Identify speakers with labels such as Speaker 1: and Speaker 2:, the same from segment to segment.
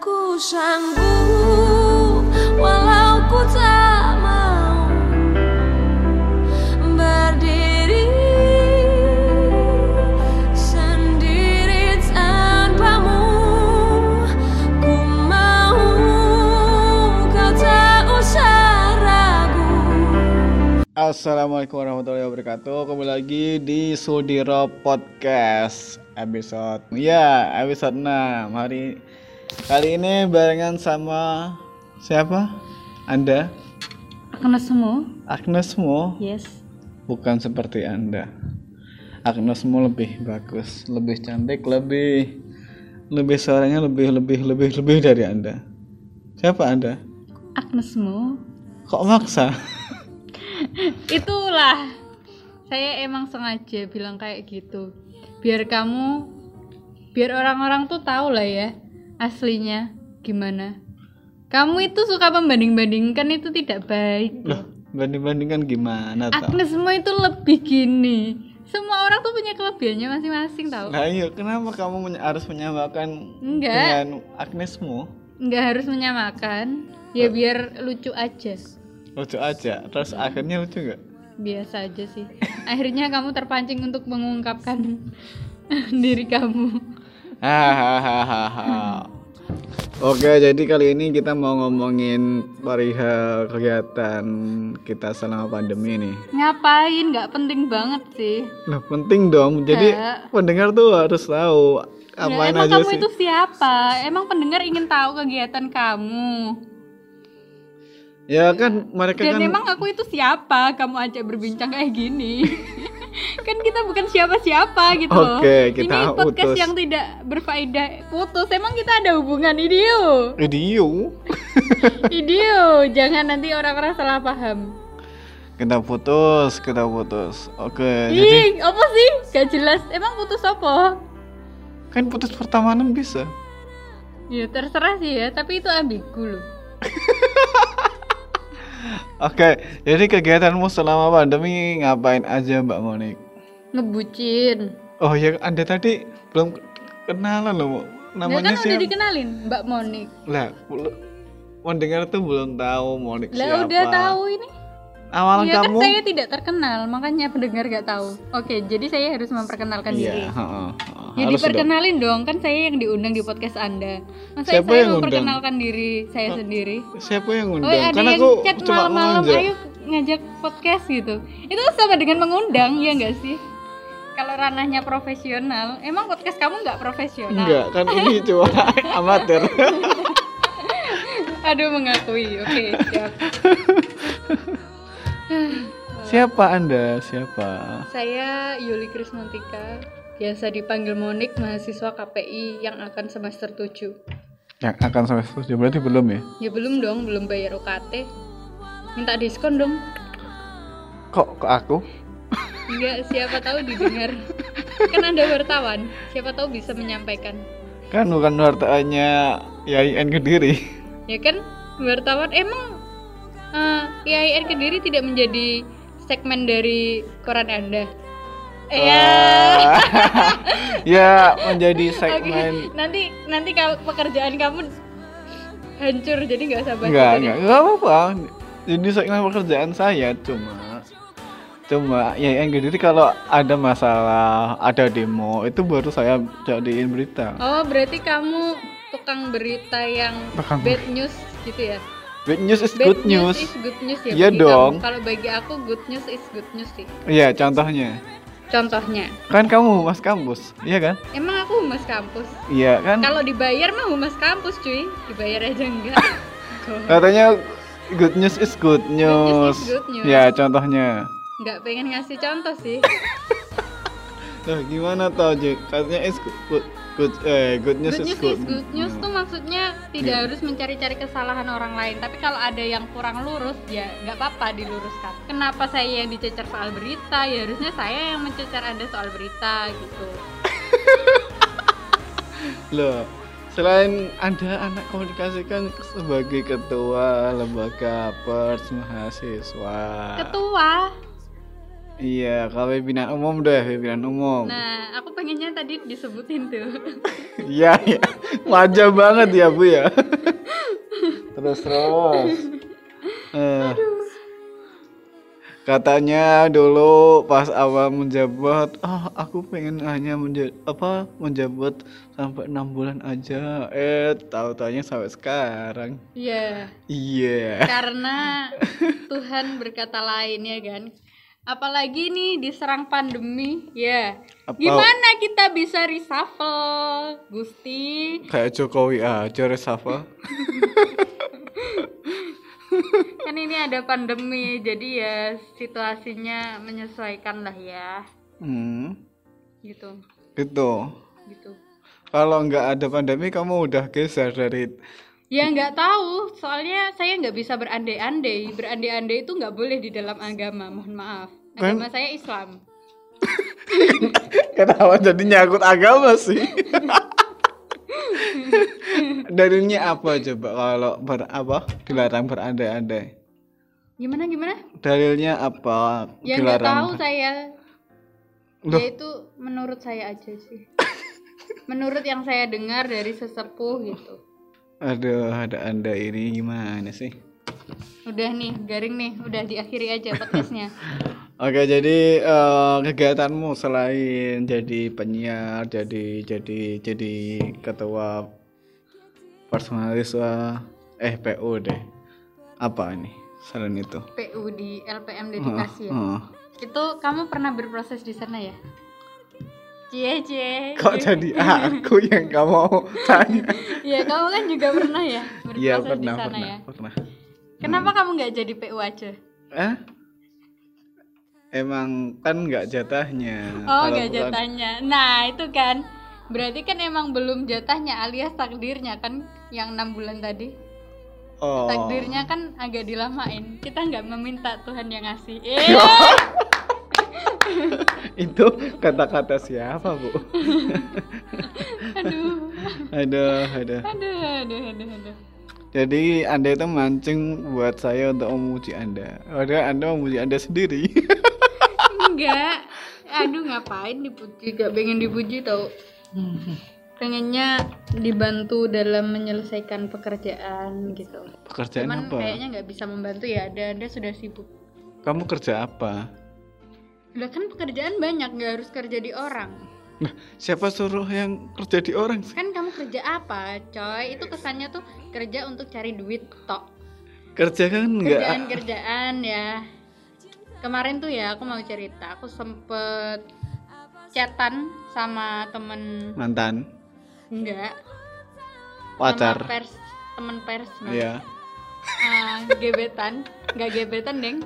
Speaker 1: ku sanggup walau ku tak mau berdiri sendiri tanpamu ku mau kau tak usah ragu
Speaker 2: Assalamualaikum warahmatullahi wabarakatuh. Kembali lagi di Sudiro Podcast episode ya episode 6 hari kali ini barengan sama siapa? Anda
Speaker 3: Kena semua?
Speaker 2: Agnes Mo
Speaker 3: Yes.
Speaker 2: bukan seperti Anda. Agnes Mo lebih bagus, lebih cantik, lebih lebih suaranya lebih lebih lebih lebih dari Anda. Siapa Anda?
Speaker 3: Agnesmu.
Speaker 2: Kok maksa?
Speaker 3: Itulah. Saya emang sengaja bilang kayak gitu. Biar kamu biar orang-orang tuh tahu lah ya aslinya gimana. Kamu itu suka membanding-bandingkan itu tidak baik.
Speaker 2: Loh, banding-bandingkan gimana toh?
Speaker 3: Agnesmu itu lebih gini. Semua orang tuh punya kelebihannya masing-masing tahu.
Speaker 2: Nah iya, kenapa kamu menya- harus menyamakan
Speaker 3: Enggak,
Speaker 2: dengan Agnesmu?
Speaker 3: enggak harus menyamakan. Ya biar lucu aja.
Speaker 2: Lucu aja, terus akhirnya lucu nggak?
Speaker 3: biasa aja sih akhirnya kamu terpancing untuk mengungkapkan diri kamu
Speaker 2: Hahaha. Oke, jadi kali ini kita mau ngomongin perihal kegiatan kita selama pandemi nih.
Speaker 3: ngapain nggak penting banget sih
Speaker 2: Nah, penting dong. Jadi
Speaker 3: Nggak.
Speaker 2: pendengar tuh harus tahu
Speaker 3: Nah,
Speaker 2: apain
Speaker 3: emang
Speaker 2: aja
Speaker 3: kamu
Speaker 2: sih.
Speaker 3: itu siapa emang pendengar ingin tahu kegiatan kamu
Speaker 2: Ya kan mereka
Speaker 3: dan
Speaker 2: kan
Speaker 3: emang aku itu siapa kamu ajak berbincang kayak gini kan kita bukan siapa-siapa gitu loh
Speaker 2: Oke, kita
Speaker 3: ini podcast
Speaker 2: putus.
Speaker 3: yang tidak berfaedah putus emang kita ada hubungan idio
Speaker 2: Eh, video.
Speaker 3: idio jangan nanti orang-orang salah paham
Speaker 2: Kita putus, kita putus. Oke, Iya, jadi
Speaker 3: Ih, apa sih? Gak jelas. Emang putus apa?
Speaker 2: kan putus pertemanan bisa.
Speaker 3: Ya terserah sih ya, tapi itu ambigu loh.
Speaker 2: Oke, jadi kegiatanmu selama pandemi ngapain aja Mbak Monik?
Speaker 3: Ngebucin.
Speaker 2: Oh ya, Anda tadi belum kenalan loh, Bu.
Speaker 3: Ya kan
Speaker 2: namanya
Speaker 3: udah
Speaker 2: siapa?
Speaker 3: dikenalin, Mbak Monik.
Speaker 2: Lah, bel- pendengar tuh belum tahu Monik
Speaker 3: Lah
Speaker 2: siapa.
Speaker 3: udah tahu ini.
Speaker 2: Awalan Oh,
Speaker 3: ya
Speaker 2: kamu?
Speaker 3: kan saya tidak terkenal, makanya pendengar gak tahu. Oke, jadi saya harus memperkenalkan
Speaker 2: Iya,
Speaker 3: diri.
Speaker 2: heeh, heeh,
Speaker 3: Ya
Speaker 2: harus dong.
Speaker 3: diperkenalin dong. kan saya yang diundang di podcast Anda. Masa
Speaker 2: Siapa yang
Speaker 3: saya
Speaker 2: undang?
Speaker 3: memperkenalkan diri saya sendiri?
Speaker 2: Siapa yang
Speaker 3: Oh,
Speaker 2: undang?
Speaker 3: ada
Speaker 2: Karena
Speaker 3: yang
Speaker 2: aku
Speaker 3: chat
Speaker 2: cuma
Speaker 3: malam-malam,
Speaker 2: ngajak.
Speaker 3: ayo ngajak podcast gitu. Itu sama dengan mengundang, ya nggak sih? Kalau ranahnya profesional, emang podcast kamu nggak profesional?
Speaker 2: Enggak, kan ini cuma amatir.
Speaker 3: Aduh, mengakui. Oke, siap.
Speaker 2: siapa Anda? Siapa?
Speaker 3: Saya Yuli Krismantika, biasa dipanggil Monik, mahasiswa KPI yang akan semester 7.
Speaker 2: Yang akan sampai seterusnya berarti belum ya?
Speaker 3: Ya belum dong, belum bayar UKT. Minta diskon dong.
Speaker 2: Kok ke aku?
Speaker 3: Enggak, Iya, siapa tahu didengar. kan Anda wartawan, siapa tahu bisa menyampaikan.
Speaker 2: Kan bukan wartaannya YIN Kediri.
Speaker 3: ya kan wartawan emang eh, IAIN Kediri tidak menjadi segmen dari koran anda ya
Speaker 2: Wah. ya menjadi
Speaker 3: oke
Speaker 2: segmen
Speaker 3: nanti nanti kalau pekerjaan kamu hancur jadi nggak usah bahas
Speaker 2: enggak
Speaker 3: itu deh.
Speaker 2: enggak enggak apa-apa jadi segmen pekerjaan saya cuma cuma ya yang jadi kalau ada masalah ada demo itu baru saya jadiin berita
Speaker 3: oh berarti kamu tukang berita yang
Speaker 2: Tukang
Speaker 3: bad news gitu ya
Speaker 2: bad news is
Speaker 3: bad
Speaker 2: good news
Speaker 3: is good news ya
Speaker 2: Iya
Speaker 3: bagi
Speaker 2: dong.
Speaker 3: kamu. kalau bagi aku good news is good news sih
Speaker 2: iya contohnya
Speaker 3: contohnya
Speaker 2: kan kamu mas kampus iya kan
Speaker 3: emang aku humas kampus
Speaker 2: iya kan
Speaker 3: Kalau dibayar mah humas kampus cuy, dibayar aja enggak.
Speaker 2: katanya good news is good news,
Speaker 3: news is good news.
Speaker 2: ya contohnya
Speaker 3: Enggak pengen ngasih contoh sih.
Speaker 2: Nah, gimana tau Ji? katanya is good good, good- eh good news
Speaker 3: Good
Speaker 2: is
Speaker 3: news
Speaker 2: good Iya.
Speaker 3: is good news tuh maksudnya tidak harus mencari-cari kesalahan orang lain, tapi kalau ada yang kurang lurus ya nggak apa-apa diluruskan. Kenapa saya yang dicecer soal berita? Ya harusnya saya yang mencecer Anda soal berita gitu.
Speaker 2: Loh, selain Anda anak komunikasi kan sebagai ketua lembaga pers mahasiswa.
Speaker 3: Ketua.
Speaker 2: Iya, kalau pimpinan umum deh, pimpinan umum.
Speaker 3: Nah, aku pengennya tadi disebutin tuh.
Speaker 2: Iya, iya. Wajah banget ya bu ya. terus terus. Eh, katanya dulu pas awal menjabat, ah aku pengen hanya menja- apa menjabat sampai enam bulan aja. Eh tahu taunya sampai sekarang.
Speaker 3: Iya,
Speaker 2: Iya.
Speaker 3: karena Tuhan berkata lain ya kan. Apalagi nih diserang pandemi, ya.
Speaker 2: Apa-
Speaker 3: Gimana kita bisa reshuffle, Gusti?
Speaker 2: Kayak Jokowi aja reshuffle.
Speaker 3: Kan ini ada pandemi, jadi ya situasinya menyesuaikan lah ya.
Speaker 2: Hmm,
Speaker 3: Gitu,
Speaker 2: gitu.
Speaker 3: gitu.
Speaker 2: Kalau nggak ada pandemi kamu udah geser dari
Speaker 3: Ya nggak tahu, soalnya saya nggak bisa berandai-andai. Berandai-andai itu nggak boleh di dalam agama, mohon maaf.
Speaker 2: Kan-
Speaker 3: Agama saya Islam.
Speaker 2: Kenapa jadi nyangkut agama sih? Dalilnya apa coba kalau ber apa dilarang berandai-andai?
Speaker 3: Gimana gimana?
Speaker 2: Dalilnya apa
Speaker 3: Ya nggak
Speaker 2: dilarang?
Speaker 3: tahu saya.
Speaker 2: Loh.
Speaker 3: Ya itu menurut saya aja sih. menurut yang saya dengar dari sesepuh gitu.
Speaker 2: Aduh, ada anda ini gimana sih?
Speaker 3: Udah nih, garing nih, udah diakhiri aja podcastnya.
Speaker 2: Oke, jadi eh, kegiatanmu selain jadi penyiar, jadi jadi jadi ketua personaliswa eh PU deh. Apa ini? Selain itu.
Speaker 3: PU di LPM
Speaker 2: Heeh,
Speaker 3: dedikasi ya.
Speaker 2: heeh.
Speaker 3: Itu kamu pernah berproses di sana ya? Cie cie.
Speaker 2: Kok jadi aku yang gak mau tanya?
Speaker 3: Iya, kamu kan juga pernah ya berproses
Speaker 2: Iya
Speaker 3: di
Speaker 2: pernah
Speaker 3: sana
Speaker 2: pernah
Speaker 3: ya.
Speaker 2: pernah.
Speaker 3: Kenapa kamu nggak jadi PU aja?
Speaker 2: Eh? Emang kan nggak jatahnya.
Speaker 3: Oh,
Speaker 2: Nah, Kalau
Speaker 3: nggak
Speaker 2: bukan-
Speaker 3: jatahnya. Nah, itu kan. Berarti kan emang belum jatahnya alias takdirnya kan yang enam bulan tadi.
Speaker 2: Oh.
Speaker 3: Takdirnya kan agak dilamain. Kita nggak meminta Tuhan yang ngasih. Eh,
Speaker 2: Itu kata-kata siapa bu?
Speaker 3: aduh.
Speaker 2: aduh aduh.
Speaker 3: Aduh, aduh, aduh, aduh.
Speaker 2: Jadi anda itu mancing buat saya untuk memuji anda. Padahal anda memuji anda sendiri.
Speaker 3: Enggak. Aduh, ngapain dipuji? Gak pengen dipuji tau. Pengennya dibantu dalam menyelesaikan pekerjaan gitu.
Speaker 2: Pekerjaan
Speaker 3: Cuman
Speaker 2: apa?
Speaker 3: kayaknya nggak bisa membantu ya. Dan anda sudah sibuk.
Speaker 2: Kamu kerja apa?
Speaker 3: Udah kan pekerjaan banyak, nggak harus kerja di orang.
Speaker 2: Nah, siapa suruh yang kerja di orang sih?
Speaker 3: Kan kamu kerja apa, coy? Itu kesannya tuh kerja untuk cari duit tok.
Speaker 2: Kerja kan nggak?
Speaker 3: gitu. Kerjaan-kerjaan ya. Kemarin tuh ya aku mau cerita, aku sempet chatan sama temen
Speaker 2: Mantan,
Speaker 3: enggak sama
Speaker 2: pacar,
Speaker 3: pers temen pers nah.
Speaker 2: iya.
Speaker 3: Ah, gebetan nggak gebetan deng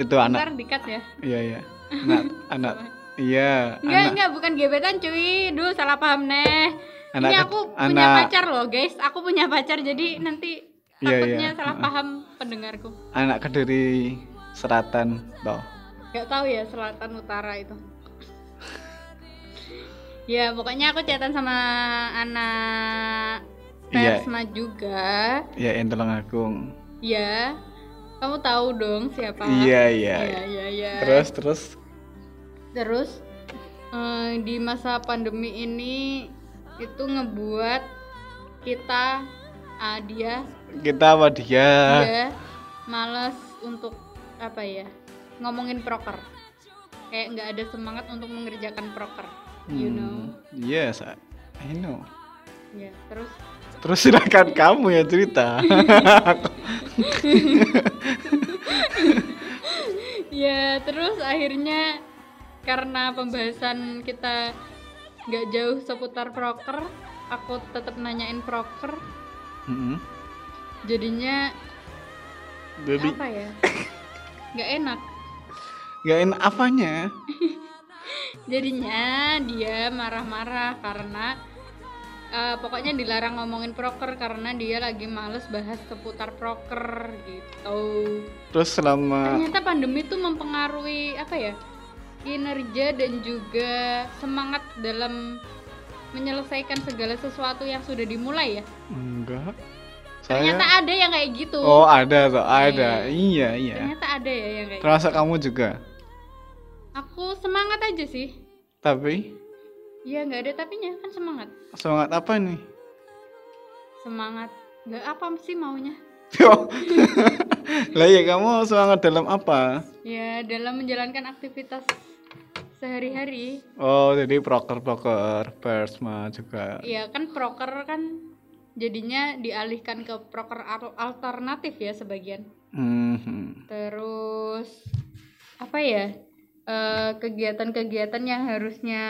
Speaker 2: Itu anak
Speaker 3: ntar dikat ya
Speaker 2: Iya iya. Anak anak. Iya.
Speaker 3: Enggak,
Speaker 2: Anak.
Speaker 3: enggak, bukan gebetan cuy Duh, salah paham neh
Speaker 2: Anak
Speaker 3: Ini
Speaker 2: kec-
Speaker 3: aku punya
Speaker 2: anak-
Speaker 3: pacar loh guys Aku punya pacar, jadi nanti
Speaker 2: Iya,
Speaker 3: takutnya
Speaker 2: iya.
Speaker 3: salah paham pendengarku
Speaker 2: Anak kediri selatan toh.
Speaker 3: Gak tahu ya, selatan utara itu Ya, pokoknya aku catatan sama anak
Speaker 2: Iya.
Speaker 3: Persma juga
Speaker 2: Ya yang Tulung Agung.
Speaker 3: Ya, kamu tahu dong siapa
Speaker 2: Iya iya.
Speaker 3: Iya, iya, iya.
Speaker 2: Terus terus.
Speaker 3: Terus eh, di masa pandemi ini itu ngebuat kita ah, dia
Speaker 2: Kita apa dia?
Speaker 3: dia males untuk apa ya ngomongin proker kayak nggak ada semangat untuk mengerjakan proker you
Speaker 2: Hmm,
Speaker 3: know
Speaker 2: Yes, I I know.
Speaker 3: ya terus
Speaker 2: Terus silakan kamu yang cerita.
Speaker 3: ya terus akhirnya karena pembahasan kita nggak jauh seputar proker aku tetap nanyain proker
Speaker 2: Mm-mm.
Speaker 3: jadinya
Speaker 2: Jadi
Speaker 3: apa ya nggak enak
Speaker 2: nggak enak apanya?
Speaker 3: jadinya dia marah-marah karena eh, pokoknya dilarang ngomongin proker karena dia lagi males bahas seputar proker gitu
Speaker 2: Terus selama
Speaker 3: ternyata pandemi tuh mempengaruhi apa ya kinerja dan juga semangat dalam menyelesaikan segala sesuatu yang sudah dimulai ya
Speaker 2: enggak.
Speaker 3: ternyata
Speaker 2: Saya
Speaker 3: ada yang kayak gitu
Speaker 2: iya? Oh, ada toh, ada. Iya, iya.
Speaker 3: ternyata ada ya yang kayak
Speaker 2: Termasuk kamu juga.
Speaker 3: aku semangat aja sih
Speaker 2: Tapi
Speaker 3: ya nggak ada tapinya kan semangat
Speaker 2: semangat apa nih?
Speaker 3: semangat nggak apa sih maunya
Speaker 2: Oh. lah ya kamu semangat dalam apa?
Speaker 3: ya dalam menjalankan aktivitas sehari-hari
Speaker 2: Oh jadi proker-proker persma juga.
Speaker 3: ya kan proker kan jadinya dialihkan ke proker al- alternatif ya sebagian
Speaker 2: Mhm.
Speaker 3: terus apa ya eh, kegiatan-kegiatan yang harusnya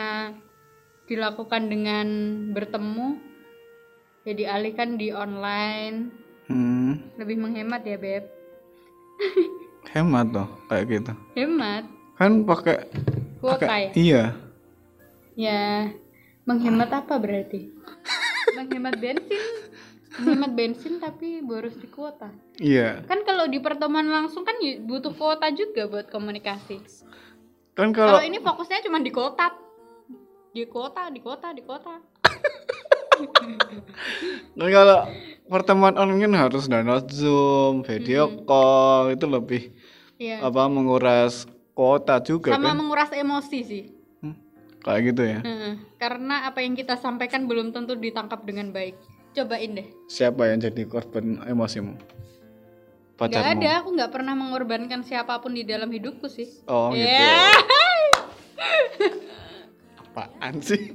Speaker 3: dilakukan dengan bertemu ya dialihkan di online
Speaker 2: Hmm.
Speaker 3: lebih menghemat ya beb
Speaker 2: Hemat loh kayak gitu.
Speaker 3: hemat
Speaker 2: Kan pakai
Speaker 3: kuota ya
Speaker 2: iya.
Speaker 3: ya menghemat apa berarti menghemat bensin menghemat bensin tapi boros di kuota
Speaker 2: Iya.
Speaker 3: kan kalau di pertemuan langsung kan y- butuh kuota juga buat komunikasi
Speaker 2: Kan
Speaker 3: Kalau
Speaker 2: kalau
Speaker 3: ini fokusnya cuma di kota. Di kota, di kota, di kota.
Speaker 2: kan kalau pertemuan online kan harus download Zoom, video call itu lebih
Speaker 3: Hmm. Iya.
Speaker 2: apa menguras kuota juga kan.
Speaker 3: Sama menguras emosi sih.
Speaker 2: Hmm. Kayak gitu ya.
Speaker 3: Heeh. Karena apa yang kita sampaikan belum tentu ditangkap dengan baik. Cobain deh.
Speaker 2: Siapa yang jadi korban emosimu?
Speaker 3: Gak
Speaker 2: Pacarmu.
Speaker 3: ada, aku nggak pernah mengorbankan siapapun di dalam hidupku sih.
Speaker 2: Oh gitu.
Speaker 3: Ya,
Speaker 2: Apaan sih?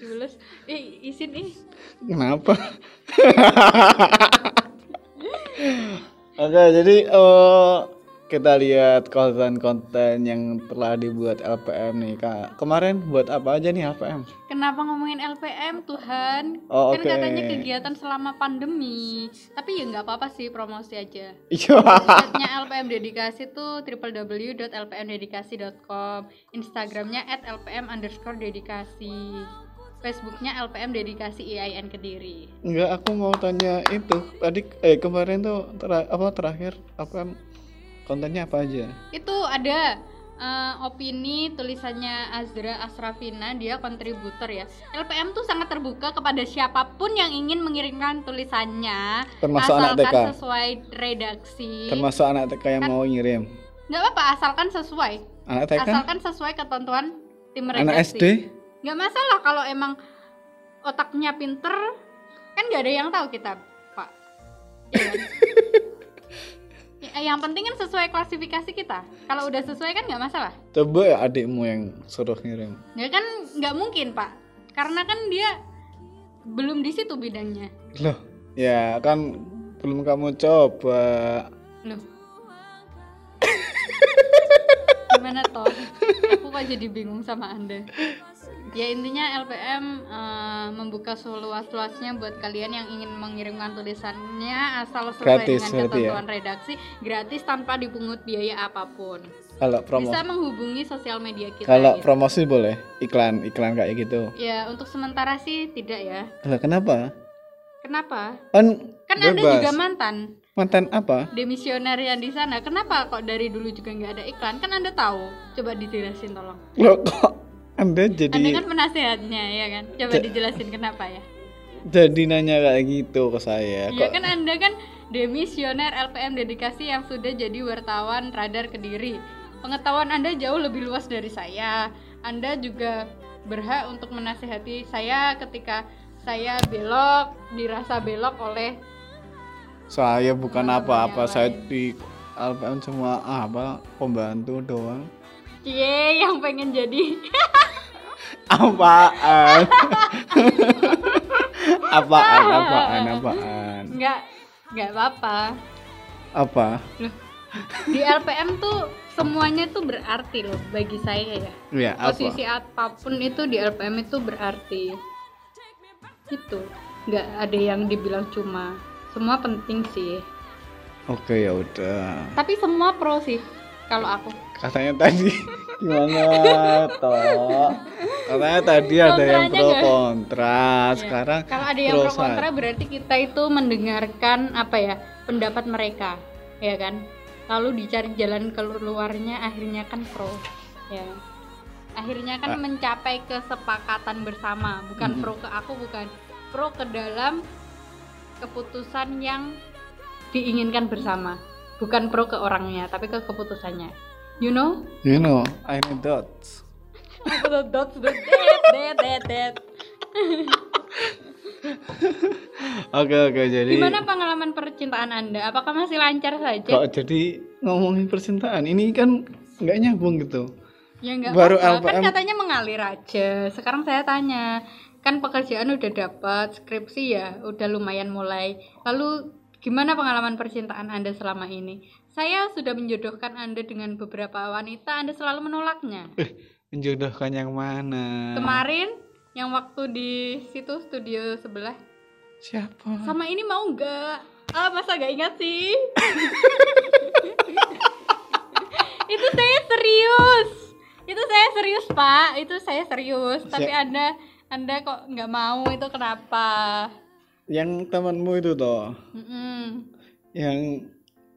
Speaker 3: jelas. Eh, isin ih.
Speaker 2: Kenapa? Oke, jadi eh, kita lihat konten-konten yang telah dibuat LPM nih kak. Kemarin buat apa aja nih LPM?
Speaker 3: Kenapa ngomongin LPM Tuhan?
Speaker 2: Oh, oke.
Speaker 3: kan katanya kegiatan selama pandemi. Tapi ya nggak apa-apa sih promosi aja.
Speaker 2: Iya.
Speaker 3: Websitenya LPM Dedikasi tuh www.lpmdedikasi.com Instagramnya at LPM underscore dedikasi Facebooknya LPM Dedikasi IAIN Kediri
Speaker 2: Enggak, aku mau tanya itu. Tadi eh kemarin tuh tera- apa terakhir LPM kontennya apa aja?
Speaker 3: Itu ada eh, opini tulisannya Azra Asrafina Dia kontributor ya LPM tuh sangat terbuka kepada siapapun yang ingin mengirimkan tulisannya
Speaker 2: Termasuk anak
Speaker 3: Asalkan
Speaker 2: TK.
Speaker 3: sesuai redaksi
Speaker 2: Termasuk anak TK yang mau ngirim.
Speaker 3: Nggak apa-apa asalkan sesuai
Speaker 2: Anak TK?
Speaker 3: Asalkan sesuai ketentuan tim redaksi
Speaker 2: Anak SD?
Speaker 3: nggak masalah kalau emang otaknya pinter kan nggak ada yang tahu kita pak Iya kan? Ya, yang penting kan sesuai klasifikasi kita kalau udah sesuai kan nggak masalah
Speaker 2: Coba ya adikmu yang suruh ngirim.
Speaker 3: ya kan nggak mungkin pak karena kan dia belum di situ bidangnya
Speaker 2: Loh, ya kan belum kamu coba.
Speaker 3: loh gimana toh aku kok jadi bingung sama anda ya intinya LPM eh, membuka seluas-luasnya buat kalian yang ingin mengirimkan tulisannya asal sesuai
Speaker 2: Gratis
Speaker 3: dengan
Speaker 2: berarti ya?
Speaker 3: ketentuan redaksi gratis tanpa dipungut biaya apapun
Speaker 2: Kalau promo
Speaker 3: bisa menghubungi sosial media kita
Speaker 2: kalau
Speaker 3: ya.
Speaker 2: promosi boleh, iklan iklan kayak gitu.
Speaker 3: ya untuk sementara sih tidak ya
Speaker 2: Lah kenapa?
Speaker 3: kenapa
Speaker 2: Kan,
Speaker 3: kan anda
Speaker 2: bebas.
Speaker 3: juga mantan
Speaker 2: mantan apa?
Speaker 3: demisioner yang di sana kenapa kok dari dulu juga nggak ada iklan kan anda tahu coba dijelasin tolong
Speaker 2: Loh kok Anda
Speaker 3: Anda
Speaker 2: jadi
Speaker 3: kan penasehatnya ya kan? Coba
Speaker 2: Ja-
Speaker 3: dijelasin kenapa ya?
Speaker 2: jadi nanya kayak gitu ke saya
Speaker 3: Iya
Speaker 2: kok.
Speaker 3: kan Anda kan demisioner LPM dedikasi yang sudah jadi wartawan radar Kediri. Pengetahuan Anda jauh lebih luas dari saya. Anda juga berhak untuk menasehati saya ketika saya belok, dirasa belok oleh
Speaker 2: Saya bukan
Speaker 3: Orang
Speaker 2: apa-apa,
Speaker 3: yang
Speaker 2: saya
Speaker 3: lain.
Speaker 2: di LPM cuma ah, apa pembantu doang.
Speaker 3: Cie yang pengen jadi
Speaker 2: Apaan? apaan? Apaan? Apaan?
Speaker 3: nggak nggak apa-apa
Speaker 2: Apa?
Speaker 3: di LPM tuh semuanya tuh berarti loh bagi saya ya
Speaker 2: Ya, apa?
Speaker 3: posisi apapun itu di LPM itu berarti itu nggak ada yang dibilang cuma semua penting sih
Speaker 2: Oke, ya udah.
Speaker 3: tapi semua pro sih kalau aku
Speaker 2: katanya tadi gimana toh katanya tadi ada yang
Speaker 3: Kontranya
Speaker 2: pro
Speaker 3: nggak?
Speaker 2: kontra
Speaker 3: Ya.
Speaker 2: sekarang
Speaker 3: kalau ada yang
Speaker 2: pro
Speaker 3: pro
Speaker 2: satu.
Speaker 3: kontra berarti kita itu mendengarkan apa ya pendapat mereka ya kan lalu dicari jalan keluarnya akhirnya kan pro ya akhirnya kan mencapai kesepakatan bersama bukan pro ke aku bukan pro ke dalam keputusan yang diinginkan bersama bukan pro ke orangnya tapi ke keputusannya you know
Speaker 2: you know I know dots
Speaker 3: Aku tuh dots, dots, det, det, det, det.
Speaker 2: Oke oke jadi
Speaker 3: Gimana pengalaman percintaan Anda? Apakah masih lancar saja?
Speaker 2: kok jadi ngomongin percintaan ini kan nggak nyambung gitu.
Speaker 3: Ya enggak
Speaker 2: baru
Speaker 3: Kan
Speaker 2: LPM.
Speaker 3: katanya mengalir aja. Sekarang saya tanya, kan pekerjaan udah dapat, skripsi ya udah lumayan mulai. Lalu gimana pengalaman percintaan Anda selama ini? Saya sudah menjodohkan Anda dengan beberapa wanita, Anda selalu menolaknya.
Speaker 2: Menjodohkan yang mana?
Speaker 3: Kemarin yang waktu di situ studio sebelah
Speaker 2: Siapa?
Speaker 3: sama ini mau nggak ah masa nggak ingat sih itu saya serius itu saya serius pak itu saya serius tapi
Speaker 2: Siap.
Speaker 3: anda anda kok nggak mau itu kenapa
Speaker 2: Yang temanmu itu toh,
Speaker 3: Mm-mm.
Speaker 2: yang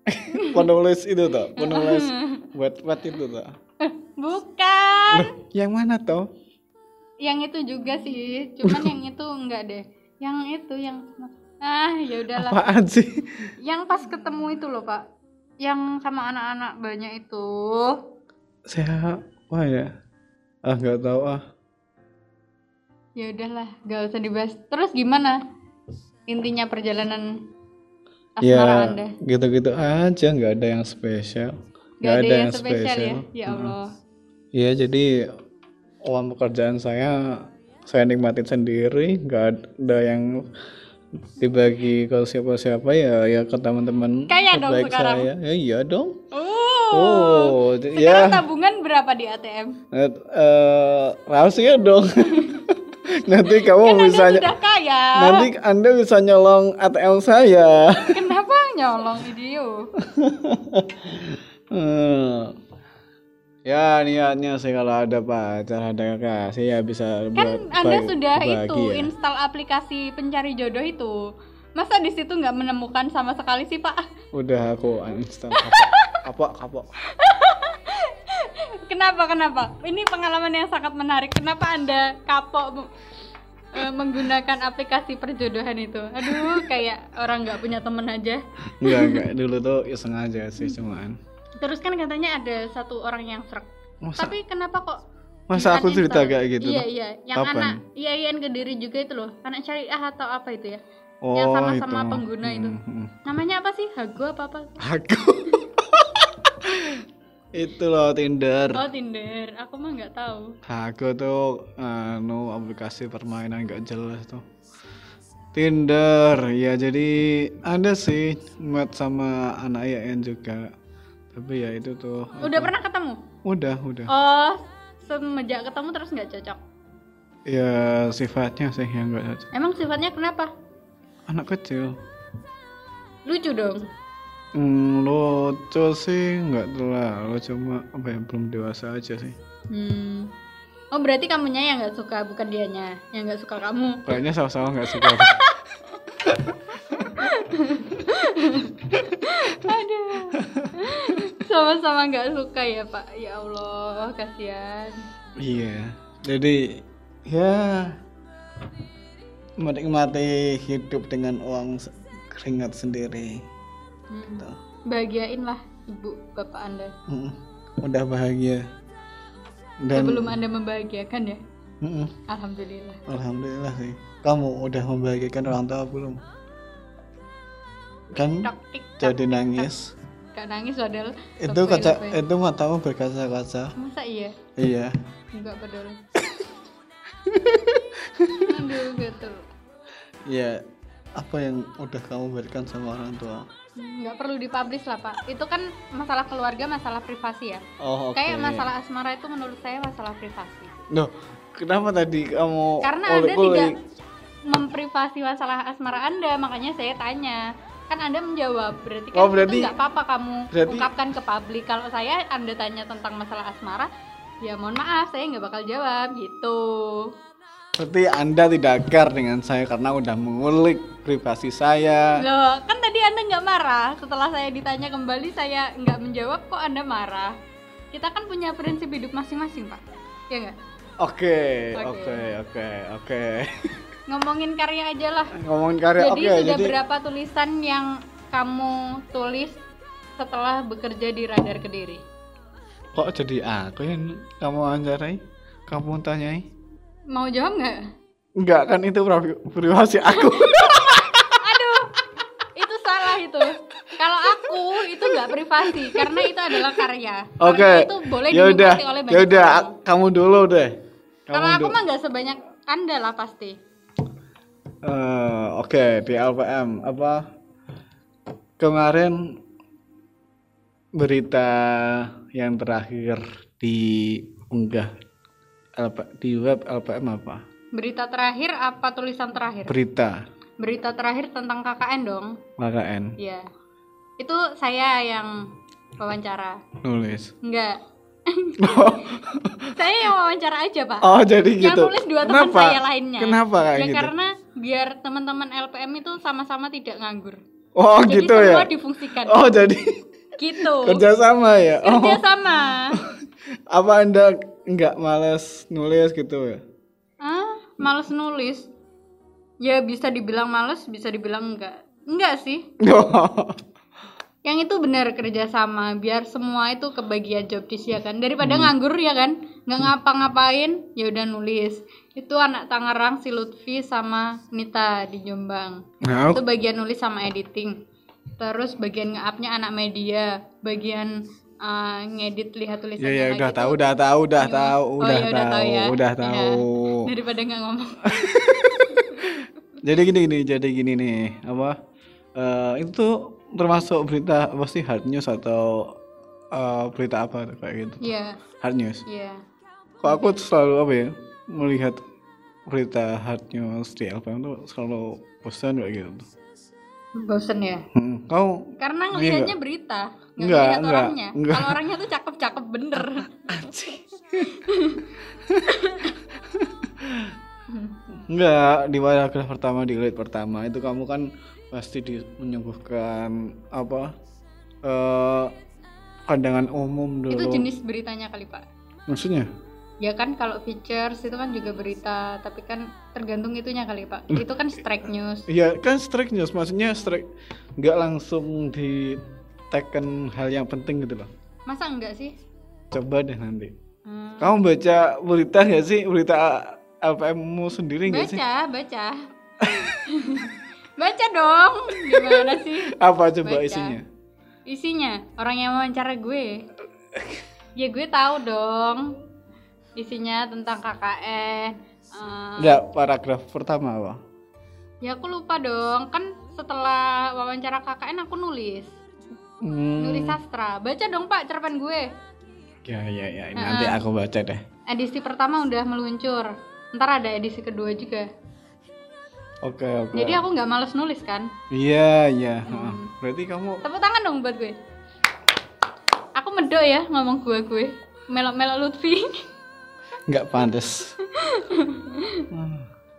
Speaker 2: penulis itu toh, penulis buat-buat itu toh.
Speaker 3: Kan? bukan
Speaker 2: Loh, yang mana toh?
Speaker 3: yang itu juga sih cuman yang itu enggak deh yang itu yang ah ya udahlah
Speaker 2: Apaan sih?
Speaker 3: yang pas ketemu itu loh pak yang sama anak-anak banyak itu
Speaker 2: Saya wah ya. Ah nggak tahu ah.
Speaker 3: ya udahlah gak usah dibahas terus gimana intinya perjalanan asmara
Speaker 2: Ya
Speaker 3: anda
Speaker 2: gitu-gitu aja nggak ada yang spesial. Nggak ada, yang spesial.
Speaker 3: ya ya allah
Speaker 2: Iya jadi uang pekerjaan saya saya nikmatin sendiri nggak ada yang dibagi ke siapa-siapa ya ya ke teman-teman
Speaker 3: Kaya dong
Speaker 2: terbaik
Speaker 3: sekarang.
Speaker 2: saya ya iya dong
Speaker 3: oh,
Speaker 2: oh j-
Speaker 3: sekarang
Speaker 2: ya
Speaker 3: tabungan berapa di ATM
Speaker 2: eh eh, rahasia dong nanti kamu
Speaker 3: kan
Speaker 2: bisa
Speaker 3: anda
Speaker 2: ny-
Speaker 3: sudah kaya
Speaker 2: nanti anda bisa nyolong ATM saya
Speaker 3: kenapa nyolong video
Speaker 2: Hmm. ya niatnya sih kalau ada pacar ada kasih ya bisa buat ya.
Speaker 3: kan anda
Speaker 2: bag-
Speaker 3: sudah itu
Speaker 2: bahagia.
Speaker 3: install aplikasi pencari jodoh itu masa di situ nggak menemukan sama sekali sih pak
Speaker 2: Udah aku uninstall. kapok, kapok.
Speaker 3: Kenapa kenapa? Ini pengalaman yang sangat menarik. Kenapa anda kapok bu- eh, menggunakan aplikasi perjodohan itu? Aduh, kayak orang nggak punya temen aja.
Speaker 2: Enggak, enggak. Dulu tuh ya sengaja sih
Speaker 3: Hmm.
Speaker 2: cuman.
Speaker 3: Terus kan katanya ada satu orang yang serak.
Speaker 2: Masa
Speaker 3: Tapi kenapa kok?
Speaker 2: masa aku cerita
Speaker 3: uninstall?
Speaker 2: kayak gitu?
Speaker 3: Iya
Speaker 2: toh?
Speaker 3: iya, yang
Speaker 2: Kapan?
Speaker 3: anak iya iya yang kediri juga itu loh, anak syariah atau apa itu ya?
Speaker 2: Oh,
Speaker 3: yang sama-sama
Speaker 2: itu.
Speaker 3: pengguna itu.
Speaker 2: Hmm, hmm.
Speaker 3: Namanya apa sih? Hago apa apa?
Speaker 2: Aku. itu loh Tinder.
Speaker 3: Oh Tinder, aku mah nggak tahu.
Speaker 2: Aku tuh anu aplikasi permainan gak jelas tuh. Tinder, ya jadi ada sih match sama anak IAIN juga. Tapi ya itu tuh.
Speaker 3: Udah pernah ketemu?
Speaker 2: Udah, udah.
Speaker 3: Oh, semenjak ketemu terus nggak cocok.
Speaker 2: Ya sifatnya sih yang gak
Speaker 3: Emang sifatnya kenapa?
Speaker 2: anak kecil
Speaker 3: Lucu dong.
Speaker 2: hmm, lucu sih nggak terlalu cuma apa ya belum dewasa aja sih
Speaker 3: Hmm. Oh berarti kamunya yang nggak suka bukan dianya yang nggak suka kamu.
Speaker 2: kayaknya sama-sama nggak suka
Speaker 3: Sama-sama nggak suka ya pak. Ya Allah kasihan.
Speaker 2: iya jadi ya menikmati hidup dengan uang se- keringat sendiri Gitu.
Speaker 3: Hmm.
Speaker 2: Tuh.
Speaker 3: Bahagiain lah ibu bapak anda.
Speaker 2: Mm, udah bahagia dan
Speaker 3: Sebelum anda membahagiakan ya.
Speaker 2: Mm,
Speaker 3: Alhamdulillah.
Speaker 2: alhamdulillah sih kamu udah membahagiakan orang tua belum kan
Speaker 3: Tok tik tok.
Speaker 2: jadi nangis
Speaker 3: Gak nangis padahal.
Speaker 2: itu
Speaker 3: Lebay,
Speaker 2: kaca
Speaker 3: lebay.
Speaker 2: itu matamu berkaca-kaca
Speaker 3: Masa iya?
Speaker 2: iya
Speaker 3: Enggak padahal. Aduh gitu.
Speaker 2: iya apa yang udah kamu berikan sama orang tua
Speaker 3: Nggak perlu dipublish lah pak. Itu kan masalah keluarga, masalah privasi ya.
Speaker 2: oh oke
Speaker 3: Kayak masalah asmara itu menurut saya masalah privasi.
Speaker 2: Loh, kenapa tadi kamu
Speaker 3: Karena Anda
Speaker 2: iya.
Speaker 3: tidak memprivasi masalah asmara Anda, makanya saya tanya. Kan Anda menjawab, berarti kan
Speaker 2: Oh, berarti-
Speaker 3: itu nggak apa-apa kamu
Speaker 2: berarti-
Speaker 3: ungkapkan ke publik. Kalau saya Anda tanya tentang masalah asmara, ya mohon maaf, saya nggak bakal jawab gitu.
Speaker 2: berarti anda tidak care dengan saya karena udah mengulik privasi saya
Speaker 3: Loh, kan tadi Anda nggak marah. Setelah saya ditanya kembali, saya nggak menjawab kok Anda marah. Kita kan punya prinsip hidup masing-masing, Pak. Ya nggak?
Speaker 2: oke oke
Speaker 3: Oke.
Speaker 2: oke oke
Speaker 3: Ngomongin karya aja lah.
Speaker 2: ngomongin karya
Speaker 3: Jadi
Speaker 2: oke
Speaker 3: sudah
Speaker 2: jadi
Speaker 3: berapa tulisan yang kamu tulis setelah bekerja di Radar Kediri?
Speaker 2: kok jadi aku yang kamu wawancarai kamu tanyai
Speaker 3: Mau jawab nggak?
Speaker 2: enggak kan itu pri- privasi aku
Speaker 3: Ah, aku itu nggak privasi karena itu adalah karya. Karya
Speaker 2: Oke.
Speaker 3: Itu boleh
Speaker 2: Ya udah,
Speaker 3: dinikmati oleh banyak
Speaker 2: ya udah
Speaker 3: orang.
Speaker 2: kamu dulu deh. Kamu
Speaker 3: Kalau aku
Speaker 2: dulu.
Speaker 3: mah nggak sebanyak Anda lah pasti.
Speaker 2: Eh, oke di LPM apa kemarin berita yang terakhir diunggah LP, di web LPM apa
Speaker 3: Berita terakhir apa tulisan terakhir?
Speaker 2: berita
Speaker 3: Berita terakhir tentang KKN dong.
Speaker 2: KKN
Speaker 3: Iya. Itu saya yang wawancara.
Speaker 2: nulis
Speaker 3: Enggak. saya yang wawancara aja, Pak.
Speaker 2: oh jadi
Speaker 3: yang
Speaker 2: gitu
Speaker 3: nulis dua teman
Speaker 2: kenapa
Speaker 3: saya lainnya.
Speaker 2: kenapa kayak
Speaker 3: Ya,
Speaker 2: gitu
Speaker 3: karena biar teman-teman LPM itu sama-sama tidak nganggur.
Speaker 2: oh
Speaker 3: Jadi
Speaker 2: gitu ya
Speaker 3: semua difungsikan.
Speaker 2: oh jadi
Speaker 3: Gitu.
Speaker 2: kerjasama ya oh
Speaker 3: Kerja sama.
Speaker 2: apa anda nggak males nulis gitu ya
Speaker 3: ah, males nulis. Ya bisa dibilang males, bisa dibilang enggak. Enggak sih.
Speaker 2: Oh.
Speaker 3: Yang itu benar kerjasama biar semua itu kebagian job disk, ya kan. Daripada
Speaker 2: Hmm.
Speaker 3: nganggur ya kan, nggak ngapa-ngapain, ya udah nulis. Itu anak Tangerang si Lutfi sama Nita di Jombang.
Speaker 2: nah,
Speaker 3: Itu bagian nulis sama editing. Terus bagian nge-upnya anak media, bagian eh, ngedit
Speaker 2: Ya
Speaker 3: lihat tulisannya
Speaker 2: ya
Speaker 3: lagi
Speaker 2: udah
Speaker 3: tuh.
Speaker 2: tahu, udah tahu, udah
Speaker 3: Gimana?
Speaker 2: tahu,
Speaker 3: iya, Oh,
Speaker 2: udah
Speaker 3: ya udah tahu
Speaker 2: tahu,
Speaker 3: ya.
Speaker 2: udah
Speaker 3: Iya.
Speaker 2: tahu.
Speaker 3: Daripada nggak ngomong.
Speaker 2: Jadi gini gini, jadi gini nih, apa? eh, itu termasuk berita pasti hard news atau eh, berita apa tuh, kayak gitu?
Speaker 3: Iya,
Speaker 2: Hard news.
Speaker 3: iya.
Speaker 2: Kok aku selalu apa ya melihat berita hard news di LPM tuh selalu bosan kayak gitu.
Speaker 3: Bosen ya.
Speaker 2: Hmm, Kau Iya
Speaker 3: Karena ngelihatnya berita, nggak
Speaker 2: Enggak,
Speaker 3: ngelihat
Speaker 2: enggak,
Speaker 3: orangnya.
Speaker 2: enggak.
Speaker 3: Kalau orangnya tuh cakep-cakep bener.
Speaker 2: Enggak, di paragraf pertama di lead pertama itu kamu kan pasti di, menyuguhkan apa eh pandangan umum dulu.
Speaker 3: Itu jenis beritanya kali pak.
Speaker 2: Maksudnya?
Speaker 3: Ya kan kalau features itu kan juga berita, tapi kan tergantung itunya kali pak.
Speaker 2: Hmm.
Speaker 3: Itu kan strike news.
Speaker 2: Iya kan strike news, maksudnya strike nggak langsung di teken hal yang penting gitu loh.
Speaker 3: Masa enggak sih?
Speaker 2: Coba deh nanti.
Speaker 3: Hmm.
Speaker 2: Kamu baca berita nggak sih? Berita LPM-mu sendiri nggak sih?
Speaker 3: Baca, baca. baca dong. Gimana sih?
Speaker 2: Apa coba
Speaker 3: Baca.
Speaker 2: isinya?
Speaker 3: Isinya orang yang wawancara gue. Ya gue tahu dong. Isinya tentang KKN. eh,
Speaker 2: Enggak, paragraf pertama apa?
Speaker 3: ya aku lupa dong. Kan setelah wawancara KKN aku nulis. Nulis
Speaker 2: Hmm,
Speaker 3: sastra. Baca dong Pak cerpen gue.
Speaker 2: ya ya ya, nanti aku baca deh.
Speaker 3: Edisi pertama udah meluncur. Ntar ada edisi kedua juga.
Speaker 2: Oke oke.
Speaker 3: Jadi aku Hmm. nggak males nulis kan.
Speaker 2: Iya, iya. heeh. Berarti kamu
Speaker 3: Tepuk tangan dong buat gue. Aku medok ya ngomong gue gue. Melok-melok Lutfi.
Speaker 2: nggak pantas.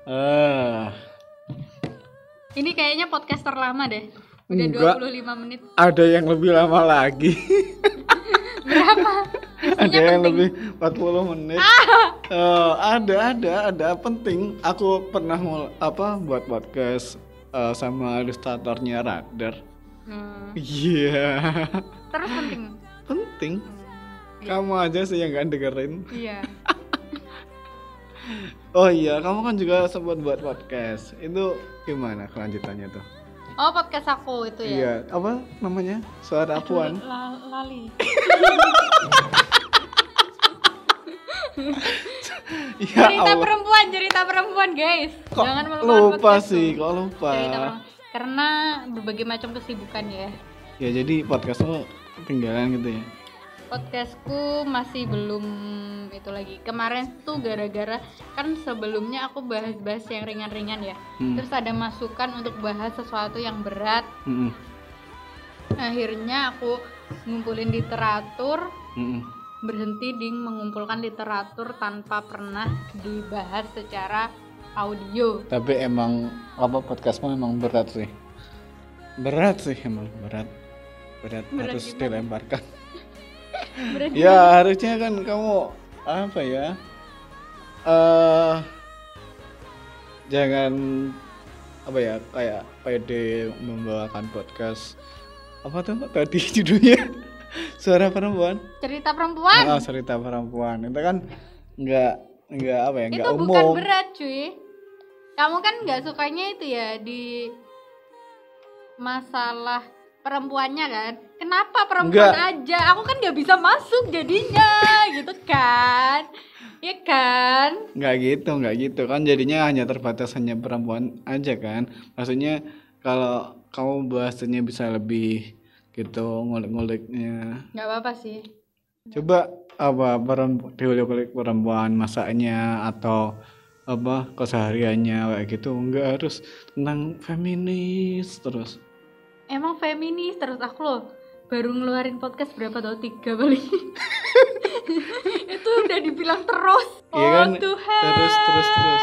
Speaker 2: Ah,
Speaker 3: Ini kayaknya podcast terlama deh. Udah
Speaker 2: Enggak.
Speaker 3: 25 menit.
Speaker 2: ada yang lebih lama lagi.
Speaker 3: Berapa? Ah.
Speaker 2: ada yang lebih 40 menit. Eh, ada, ada, ada penting. Aku pernah mul- apa buat podcast eh, sama ilustratornya Radar.
Speaker 3: Hmm,
Speaker 2: Iya,
Speaker 3: Terus penting.
Speaker 2: penting. Kamu aja sih yang nggak dengerin.
Speaker 3: Iya.
Speaker 2: Oh iya, kamu kan juga sempat buat podcast. Itu gimana kelanjutannya tuh?
Speaker 3: Oh, podcast aku itu
Speaker 2: Iya,
Speaker 3: ya.
Speaker 2: apa namanya? Suara Puan.
Speaker 3: La- Lali.
Speaker 2: Ya
Speaker 3: Cerita
Speaker 2: Allah.
Speaker 3: perempuan, cerita perempuan, guys.
Speaker 2: Kok
Speaker 3: Jangan melupakan
Speaker 2: lupa
Speaker 3: podcast
Speaker 2: sih,
Speaker 3: tuh.
Speaker 2: kok lupa.
Speaker 3: Cerita perempuan. Karena berbagai macam kesibukan ya.
Speaker 2: Ya jadi podcastmu ketinggalan gitu ya.
Speaker 3: podcastku masih belum itu lagi kemarin tuh gara-gara kan sebelumnya aku bahas-bahas yang ringan-ringan ya
Speaker 2: Hmm.
Speaker 3: terus ada masukan untuk bahas sesuatu yang berat
Speaker 2: Mm-mm,
Speaker 3: akhirnya aku ngumpulin literatur
Speaker 2: mm-mm.
Speaker 3: berhenti di mengumpulkan literatur tanpa pernah dibahas secara audio
Speaker 2: Tapi emang apa podcastmu emang berat sih. Berat sih emang berat. Berat,
Speaker 3: Berat
Speaker 2: harus
Speaker 3: gimana?
Speaker 2: dilemparkan.
Speaker 3: Berat
Speaker 2: ya harusnya kan kamu apa ya? Eh jangan apa ya kayak pede membawakan podcast apa tuh tadi judulnya suara perempuan
Speaker 3: cerita perempuan
Speaker 2: Ah, cerita perempuan itu kan nggak nggak apa ya
Speaker 3: itu
Speaker 2: nggak
Speaker 3: bukan
Speaker 2: umum
Speaker 3: berat cuy kamu kan nggak sukanya itu ya di masalah perempuannya kan kenapa perempuan
Speaker 2: Enggak.
Speaker 3: aja aku kan nggak bisa masuk jadinya gitu kan ya kan
Speaker 2: nggak gitu nggak gitu kan jadinya hanya terbatas hanya perempuan aja kan maksudnya kalau kamu bahasanya bisa lebih gitu ngulik-nguliknya
Speaker 3: nggak apa-apa sih
Speaker 2: coba apa perempuan diulik-ulik perempuan masaknya atau apa kesehariannya kayak gitu nggak harus tentang feminis terus
Speaker 3: emang feminis terus aku loh baru ngeluarin podcast berapa tau tiga kali itu udah dibilang terus oh
Speaker 2: Iya kan?
Speaker 3: Tuhan
Speaker 2: Terus, terus, terus.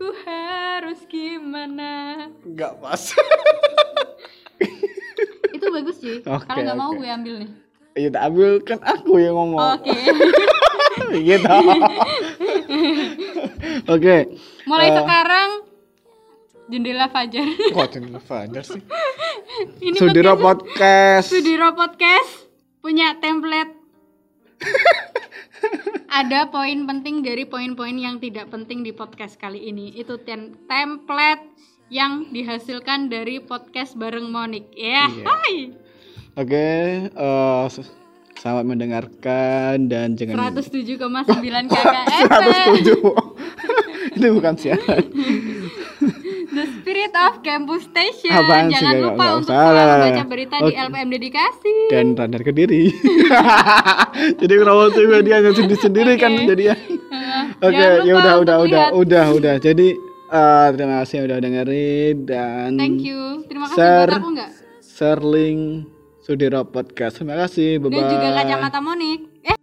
Speaker 3: ku harus gimana
Speaker 2: nggak pas
Speaker 3: itu bagus sih
Speaker 2: Oke,
Speaker 3: kalau nggak mau
Speaker 2: oke.
Speaker 3: gue ambil nih
Speaker 2: ya ambil kan aku yang ngomong
Speaker 3: oke
Speaker 2: gitu oke
Speaker 3: mulai
Speaker 2: Eh.
Speaker 3: sekarang jendela fajar
Speaker 2: kok jendela fajar sih
Speaker 3: ini
Speaker 2: Sudiro
Speaker 3: podcast-
Speaker 2: podcast
Speaker 3: Sudiro podcast punya template ada poin penting dari poin-poin yang tidak penting di podcast kali ini itu tem- template yang dihasilkan dari podcast bareng Monik ya
Speaker 2: Iya.
Speaker 3: hai
Speaker 2: Oke, eh, s- selamat mendengarkan dan jangan
Speaker 3: 107,9
Speaker 2: Oh,
Speaker 3: KKFM
Speaker 2: 107. Itu bukan siaran.
Speaker 3: The Spirit of Campus Station
Speaker 2: Apaan sih,
Speaker 3: jangan
Speaker 2: nggak-
Speaker 3: lupa
Speaker 2: nggak
Speaker 3: untuk
Speaker 2: usah.
Speaker 3: selalu baca berita di
Speaker 2: Oke.
Speaker 3: LPM Dedikasi
Speaker 2: Dan radar kediri. Jadi promosi dia hanya sendiri-sendiri kan
Speaker 3: Oke.
Speaker 2: jadi ya. Oke,
Speaker 3: Jangan lupa
Speaker 2: ya udah
Speaker 3: untuk
Speaker 2: udah udah
Speaker 3: lihat.
Speaker 2: udah udah. Jadi eh, terima kasih yang udah dengerin dan
Speaker 3: thank you terima kasih
Speaker 2: Share.
Speaker 3: buat aku nggak
Speaker 2: share link Sudiro Podcast. Terima kasih. Bye bye.
Speaker 3: dan juga kacamata Monik eh